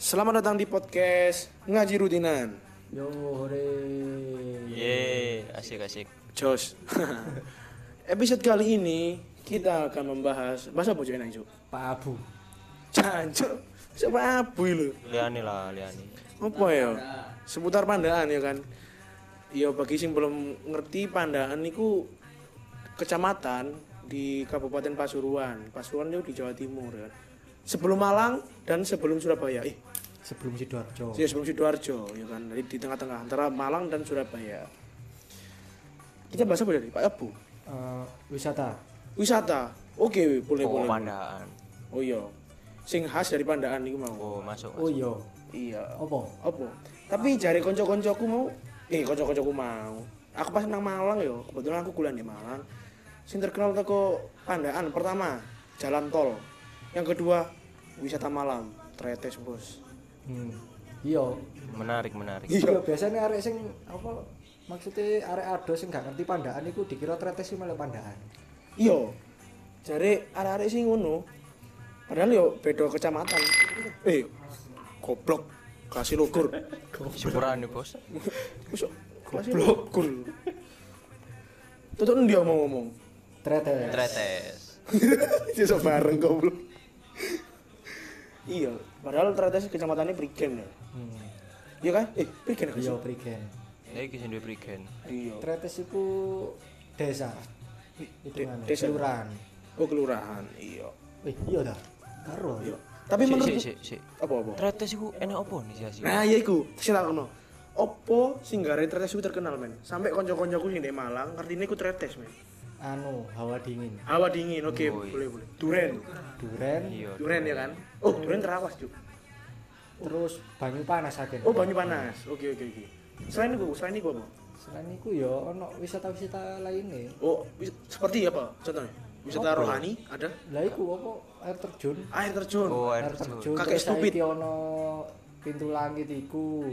Selamat datang di podcast Ngaji Rutinan. Yo, hore. Yeay, asik asik. Jos. Episode kali ini kita akan membahas bahasa apa cuy Cuk? Pak Abu. Jancuk. Siapa abu lu? Liani lah, Liani. Apa ya? Seputar pandaan ya kan. Ya bagi sing belum ngerti pandaan niku kecamatan di Kabupaten Pasuruan. Pasuruan itu di Jawa Timur ya kan. Sebelum Malang dan sebelum Surabaya. Eh, Ih, Sebelum Oh. Sidoarjo. Ya, sebelum Sidoarjo ya kan. Jadi di tengah-tengah antara Malang dan Surabaya. Kita bahas apa tadi? Pak Abu. Eh, wisata. Wisata. Oke, boleh Oh, boleh. pandaan. Oh iya. Sing khas dari Pandaan iku mau. Oh, masuk. Oh iya. Iya. Apa? Apa? Tapi jari konco-koncoku mau eh konco-koncoku mau. Aku pas nang Malang yo, kebetulan aku kuliah di Malang. Sing terkenal teko Pandaan pertama, jalan tol. Yang kedua, wisata malam, tretes bos. Hmm. Iya. Menarik, menarik. Iya. Iya, biasanya arek sing apa maksudnya arek ado sing gak ngerti pandaan iku dikira tretes sih malah pandaan. Iya. Jare arek-arek sing ngono. Padahal yo beda kecamatan. Eh, goblok. Kasih lugur. Syukuran nih, Bos. Wis kasih lugur. Tutup dia mau ngomong. Tretes. Tretes. Sesuk bareng goblok. iya, padahal ternyata sih kecamatannya Prigen ya. Hmm. Iya kan? Eh, Prigen kan? Iya, prigen. Ini kisah dua Brigen. Iya. Tretes iku desa. Hitungannya desa. kelurahan. Oh, kelurahan. Iya. Wih, iya dah. Karo. Iya. Tapi Sik, menurut sik, sik, sik. apa apa? Tretes iku enak apa nih sih asik? Nah, iya iku. Sing tak ono. Opo sing gare tretes iku terkenal men. Sampai kanca-kancaku sing di Malang ngertine iku tretes men. Anu, hawa dingin. Hawa dingin, oke, Woi. boleh boleh. Duren. Duren, Iya. Duren ya kan? Oh, duren terawas, Cuk. terus banyu panas akeh. Oh, banyu panas. Oke oke oke. Selain iku, selain iku apa? Selain iku ya ono wisata-wisata lainnya. Oh, wis- seperti apa contohnya? Wisata rohani ada? Lah iku apa air terjun? Air terjun. Oh, air Air terjun. terjun. Kakek terus saiki stupid. ono pintu langit iku.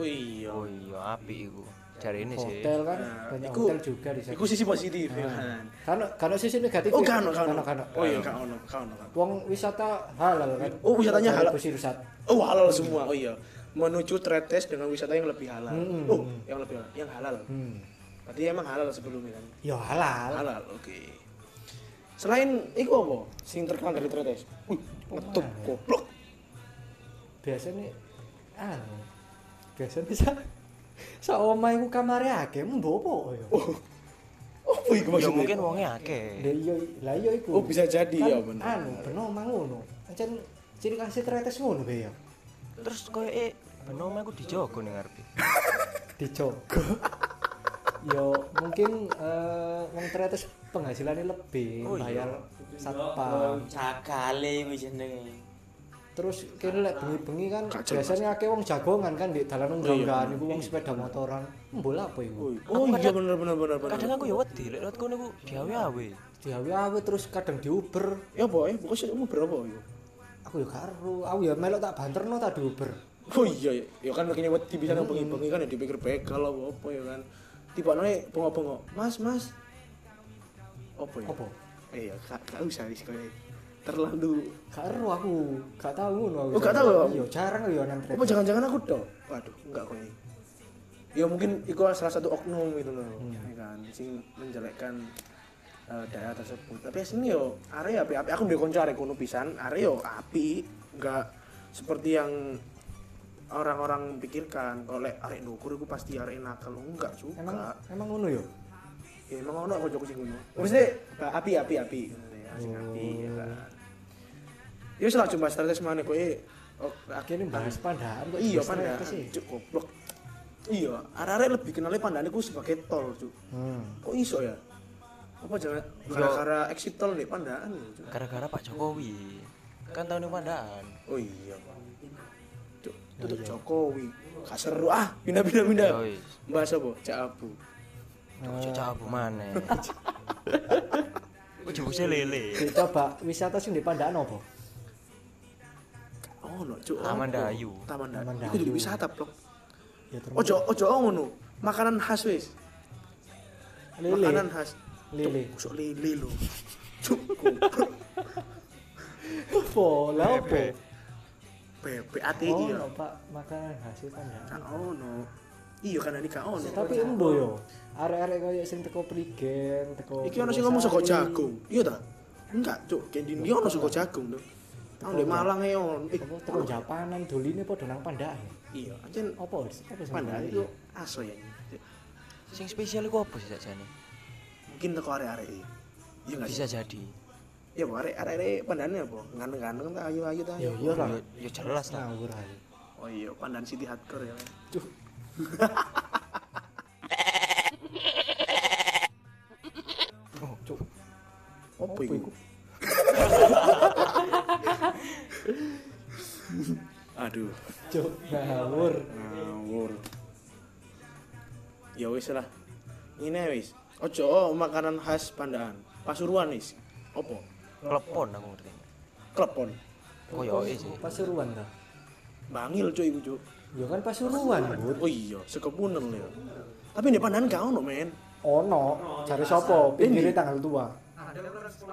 Oh iya. Oh iya, api iku. Cari ini sih. Hotel kan Nah, banyak iku- hotel juga di sana. Iku sisi positif ya kan. Nah, Kan kan sisi negatif. Oh, kano kano. Kan kan. Oh iya, kano kano. kano. Wong wisata halal kan. Oh, wisatanya halal. Kursi rusat. Oh, halal semua. Oh iya. Menuju tretes dengan wisata yang lebih halal. Hmm. Oh, yang lebih halal. Yang halal. Hmm. Berarti emang halal sebelumnya kan. Ya halal. Halal, oke. Selain iku apa? Sing terkenal dari tretes. Wih, ngetut goblok. Biasanya anu. Biasanya bisa Sa omah iku kamare akeh mbok apa ya. Oh. Apa iku Ya maksudnya? mungkin wongnya akeh. Lah iya lah iya iku. Oh, bisa jadi Kan ya bener. Anu, beno mang ngono. Ancen ciri khasnya tretes ngono be ya. Terus koyo e benome aku dijogo ning ngarepe. dijogo yo mungkin eh wong tretes penghasilannya lebih Oh, iya. bayar satpam cakale kuwi jenenge terus kene lek bengi-bengi kan Gak jelas. biasanya akeh wong jagongan kan di dalan unggang-unggahan iku wong sepeda motoran mbol apa Oh, iku oh iya bener bener bener bener. Kadang aku ya wedi lek lewat kono iku diawe-awe. diawe-awe terus kadang diuber Ya apa ya? Pokoknya umur berapa ya? aku ya karo aku ya melok tak banterno tak diuber Oh iya, ya, ya kan makanya buat bisa nang bengi-bengi kan ya dipikir begal apa apa ya kan. Tiba nih bengok-bengok, mas mas. Apa ya? apa Eh ya, gak, gak usah sih kayak terlalu. karo aku gak tahu ngono aku Oh, gak tahu ya? iya jarang aku ya nang Apa tretes jangan-jangan aku dong? Waduh, enggak kok ini. Ya mungkin itu salah satu oknum gitu loh, ya kan, sing menjelekkan eh, daerah tersebut. Tapi sini yo area api api aku udah konco area kono pisan, area yo api nggak seperti yang orang-orang pikirkan kalau lek arek nukur itu pasti arek nakal Oh, enggak juga emang emang ngono yo ya emang ono kok sing ngono maksudnya eh, api api api Ya, sing api ya kan ya wis lah cuma strategis mana kowe oh, akhirnya bahas pandaan kok iya bahas pandaan tretes sih. cuk goblok iya arek-arek lebih kenalnya pandaan itu sebagai tol cuk hmm. kok iso ya apa jangan gara-gara exit tol nih pandaan ya cuk Gara-gara Pak Jokowi. Kan tahun ini pandaan. oh iya pak cuk tutup Jokowi gak seru ah pindah pindah pindah Ya, wis. bahas apa cak abu Cocok aku mana? Aku jebuse lele. Jadi coba wisata sing di Pandaan apa? oh no cuk Taman Apa? Dayu. taman Taman dayu itu jadi Dayu. wisata blok Ya termasuk ojo ojo oh, ngono makanan khas wis lele. makanan khas Lele. Cuk, sok lele lo cuk goblok Apa? Lah apa? BPATI Oh, ya. no, Oh, Pak, makanan hasil Gak tandaan. ono. Kan, oh, Iya kan ini gak ono. Tapi embo yo. Arek-arek koyo sing teko Prigen, teko Iki ono sing ngomong saka Sari. jagung. Iya ta? Enggak, Cuk. Kendin dia ono saka jagung to. Tahu di Malang e ono. Eh, Apa teko Japanan doline padha nang Pandaan. Iya, ancen Apa? Apa sing Pandaan doline? itu aso ya. Sing spesial iku apa sih sakjane? Mungkin teko arek-arek iki. Iya enggak sih? Bisa jadi. Iya, Bu, arek-arek pandane apa? Ngandeng-ngandeng ta ayu-ayu ta. Ya iya lah. Ya, ya jelas lah. Ngawur ae. Oh iya, pandan City Hardcore ya. Duh. Oh, Cuk, Apa iku? Aduh, cuk, ngawur. ngawur. Ya wis lah. Ngene wis. Ojo oh, makanan khas Pandaan. Pasuruan wis. Opo? klepon aku ngerti. Klepon. Koyoke sih. Pasuruan ta. Bangil cuy iku cuy. Ya kan Pasuruan, Bud. Oh iya, sekepunen lho. Tapi di Pandaan gak ono men. Ono, cari sopo? Pinggire tanggal tua.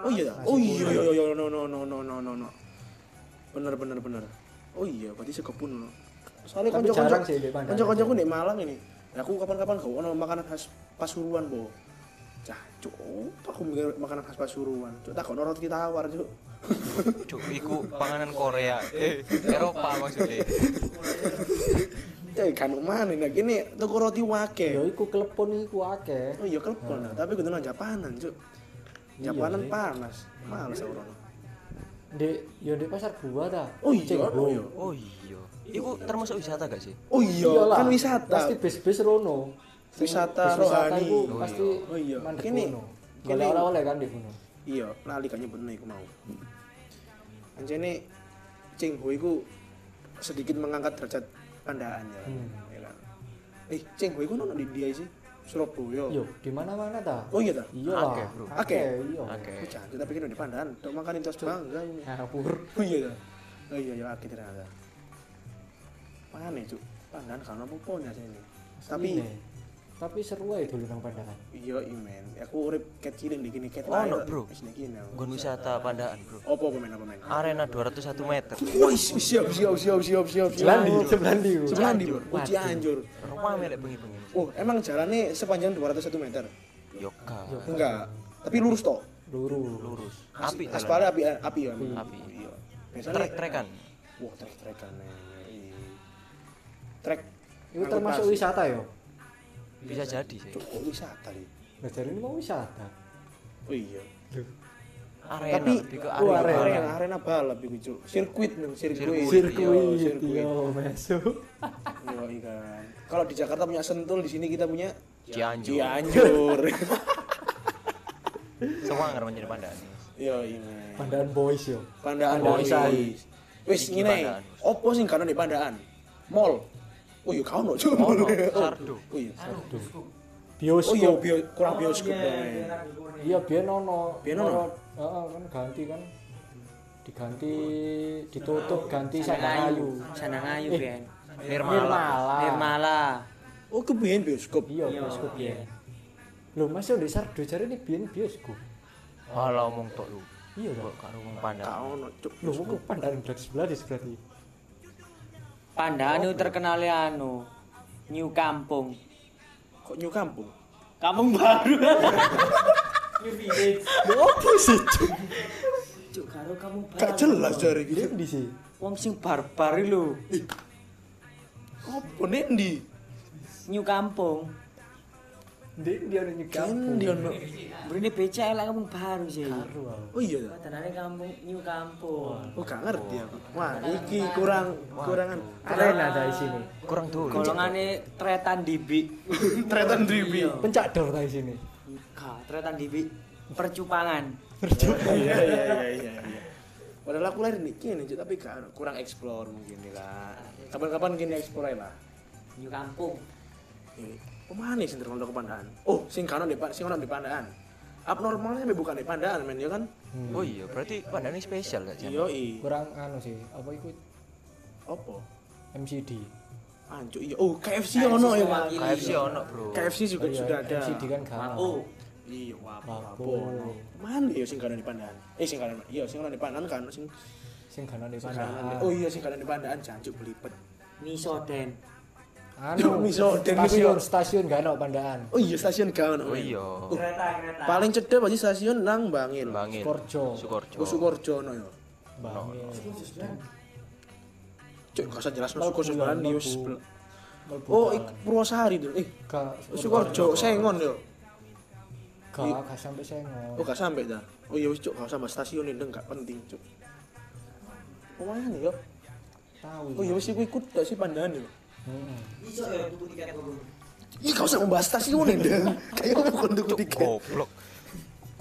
Oh iya, oh iya, iya, iya, no, no, no, no, no, no, no. Bener, bener, bener. Oh iya, berarti sekepun. no. Soalnya Tapi konco-konco, jarang sih di Pandaan. konco-koncoku di Malang ini. Ya, aku kapan-kapan kau ono makanan khas Pasuruan bo. Cah, cuk, apa aku mikir makanan khas Pasuruan. Cuk, tak kono roti tawar, cuk. Cuk, iku panganan Korea. Eh, Eropa maksudnya. Eh, kan kemana nah gini tuku roti Ya wake. iku klepon iku akeh. Oh iya, kelepon, nah. tapi kudu nang Japanan, cuk. Iya, Japanan Nek. panas, males aku. ono. Di ya di pasar buah ta. Oh iya, Cenggo. oh iya. Oh iya. Iku termasuk wisata gak sih? Oh iya, Iyalah, kan wisata. Pasti bis-bis rono. Sing Wisata bis wisata rohani. iku Oh Pasti iya. Oh iya. mandek Kene- kono. kene- Golek oleh-oleh kan di kono. iya lali kan nyebutnya iku mau anjene Cing Ho iku sedikit mengangkat derajat pandaan ya Hmm. Ya kan? eh Cing Ho iku nono di dia sih Surabaya Yo, di mana-mana ta? oh iya ta Iya lah. Akeh, Bro. Akeh, Akeh. iya. aku cantik tapi kira di pandaan tok makan itu bangga ini. Ngapur. oh iya ta oh iya ya akeh ternyata aneh cuk pandaan kan apa pun ya sini tapi Ini. tapi seru ae dulu nang pandangan. iya imen aku urip kecilin di gini ket Oh, lahir, no, bro. wis di gini aku. Gun wisata Pandaan, Bro. opo pemain apa pemain Arena 201 meter. Wih, siap, siap, siap, siap, siap, Jelandi, siap. Jelandi. Bro. Jelandi, bro. Waduh. Uji anjur. Rumah melek bengi-bengi. Oh, emang jalannya sepanjang 201 meter? Yoga. Yo, Enggak. Tapi lurus toh. luru. Lurus. Api jalan. Aspalnya api api ya. Api. Api. Iya. Biasanya Trek-trekan. Wah, trek-trekan. iya. Trek. Itu termasuk angkutan. wisata yo. Bisa jadi sih. Cuk, kok wisata nih. Nah, jadi ini mau wisata. Oh iya. Arena Tapi- lebih ke Oh, arena. arena. balap. Arena, arena balap iku, Cuk. Sirkuit nang sirkuit. Sirkuit, Iya, yo masuk. Iya, iya kan. Kalau di Jakarta punya Sentul, di sini kita punya Cianjur. Iya, Cianjur. Semua ngarep menjadi Pandaan. Iya, iya. Pandaan boys yo. Pandaan Pandaan boys. Boys. Wis Iki ngene, Pandaan. opo sing kanan di Pandaan? Mall. Oh iya kau no, Cuk. Oh, Ono, Sardo. Oh iya. Aduh. Oh iya Bioskop. bio- kurang bioskop. men. Iya, biyen ono. Biyen ono? Ono- Heeh, kan ganti kan. Diganti, ditutup, ganti sama Sanangayu, kayu. Sanangayu Ben. Nirmala. ah. Nirmala. Oh kebiyen bioskop. Iya, bioskok ya. Lho, Mas yo ndek Sardo jare ini biyen bioskop. Halah omong tok lu. Iya Kok lho. karo wong Pandaan. Kau no, Cuk. Lho, kok pandangan black sebelah di sebelah iki. Pandaan itu terkenal anu New Kampung. Kok nyu kampung? Kampung baru. Lho, opo sih? Cuk? Cuk karo kampung baru. Gak jelas jare Iki iki. ndi sih? Wong sing barbar lho. Opo nendi? New Kampung. Ndek ndi ono Kendi ono. Mrene becak elek kampung baru sih. Oh iya. ta? Padanane kampung New Kampung. Oh gak ngerti aku. Wah, iki kurang kurangan. Arena ta isine. Kurang dulu. Golongane tretan dibik. Tretan dribi. Pencak dor ta isine. Gak, tretan dibik percupangan. Iya iya iya iya. iya. Padahal aku lahir di kene, Cuk, tapi gak ono. kurang explore mungkin ya lah. Kapan-kapan kene explore aja lah. New Kampung. Pemane sing terkenal ke Pandaan? Oh, sing kanon di Pa- sing ono di Pandaan. Abnormalnya sampe bukan di Pandaan men ya kan? Oh iya, berarti Pandaan ini spesial gak sih? Iya i. Kurang anu sih, apa iku Opo? MCD? Anjuk iya. Oh, KFC ono ya, Mas. Mewakili. KFC ono, Bro. KFC juga Oh iya, sudah ada. MCD kan gak. Wapo. Iya, wapo. Wapo. Wapo. Mana ya sing kanon di Pandaan? Eh, sing kanon. Iya, sing ono di Pandaan kan sing sing ganane Pandangan. pandaan. Oh iya sing kanan di Pandaan jancuk belipet. Misoden. Yo, miso, den miso. stasiun stasiun gak ono pandaan. Oh iya stasiun gaun. Oh iya. Kereta kereta. Paling cedek pasti stasiun nang Bangil. Bangil. Sukorjo. Sukorjo. Oh Sukorjo no ya. Bangil. Cuk, gak usah jelas Mlebu, masuk kursus bahan mlebu. dius. Mlebu Oh, dalan. ik Purwosari itu. Eh, Gak Sukorjo Sengon yo. Gak gak sampai sengon. Oh, gak sampe dah. Oh iya wis cuk, gak usah bahas stasiun ini gak penting cuk. Oh, mana yo? Tahu. ya. Oh iya wis iku ikut gak sih pandangan yo. Heeh. Iso ya tuku tiket turun. Ih, Iya, gak usah membahas stasiun ini. Dang. Kayak aku untuk Cuk, tiket. goblok.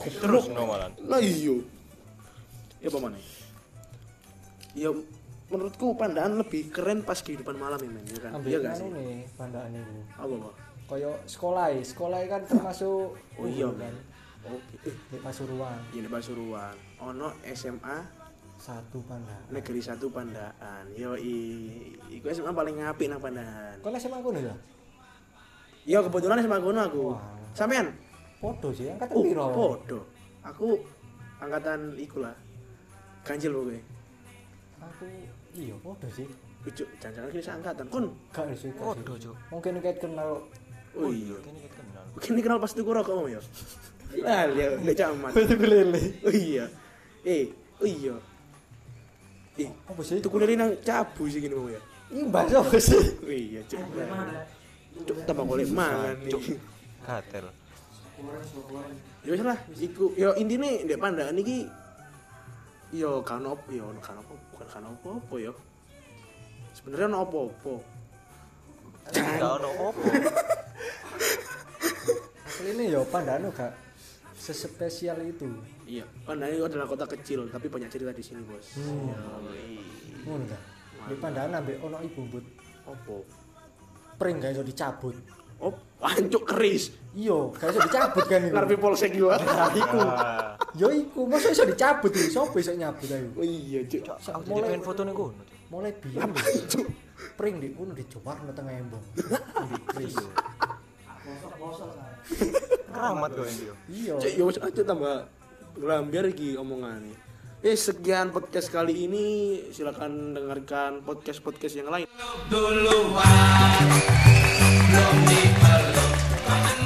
Terus no malan. Lah iya. Ya apa mana? Ya menurutku pandaan lebih keren pas kehidupan malam ya men, ya kan? Ambil Iya gak anu sih? nih pandaan iku. Apa apa? Kaya sekolah, sekolah kan termasuk Oh iya kan. men. Oke. Eh, Di Pasuruan ya di Pasuruan, ono SMA satu pandaan. Negeri 1 Pandaan. Yoi. Iku SMA paling apik nang Pandaan. Kok SMA ngono ya? Ya kebetulan SMA kono aku. Wah. Sampean? Podo sih, angkatan Oh, piro? podo. Aku angkatan iku lah. Ganjil pokoknya. Aku iya podo sih. Ujuk, jangan-jangan kita seangkatan. Kun. Gak sih, gak Podo, sih. Cuk. Mungkin kayak kenal Oh iya. Kene kita kenal. Mungkin ini kenal pas tuku rokok om ya. Lah, ya udah camat. Itu lele. Oh iya. Eh, oh iya. Eh, Apa sih? tuku lele nang cabu sih gini om ya. Ini bahasa apa sih? Oh iya, cuk. Cuk, tambah golek mangan Cuk. nih. Gatel. Ya wis lah, iku ya intine ndek pandaan iki ya kan opo ya ono kan opo bukan kan opo-opo ya. Sebenarnya ono opo-opo. Gak ono opo. Asli ini ya pandano gak sespesial itu. Iya, Pandaan itu adalah kota kecil tapi banyak cerita di sini, Bos. Ya, Ngono gak? Di pandaan ambek ono ibu but Opo. pring gak iso dicabut. Op, ancuk keris. Iya, gak iso dicabut kan iku. Ngarepe polsek yo. Lah, iku. Yo iku, masa iso dicabut iki? Sopo iso nyabut ayo? Oh iya, cuk. Aku jadi pengen foto nih gue. Mulai biyen lho. Pring di kono dijuar nang tengah embong. Di kris. Bosok-bosok. Sar. Keramat gue ini. Iya. Cuk, ya wis aja tambah ngelambiar iki omongane. Eh, sekian podcast kali ini. Silakan dengarkan podcast-podcast yang lain. duluan belum diperlukan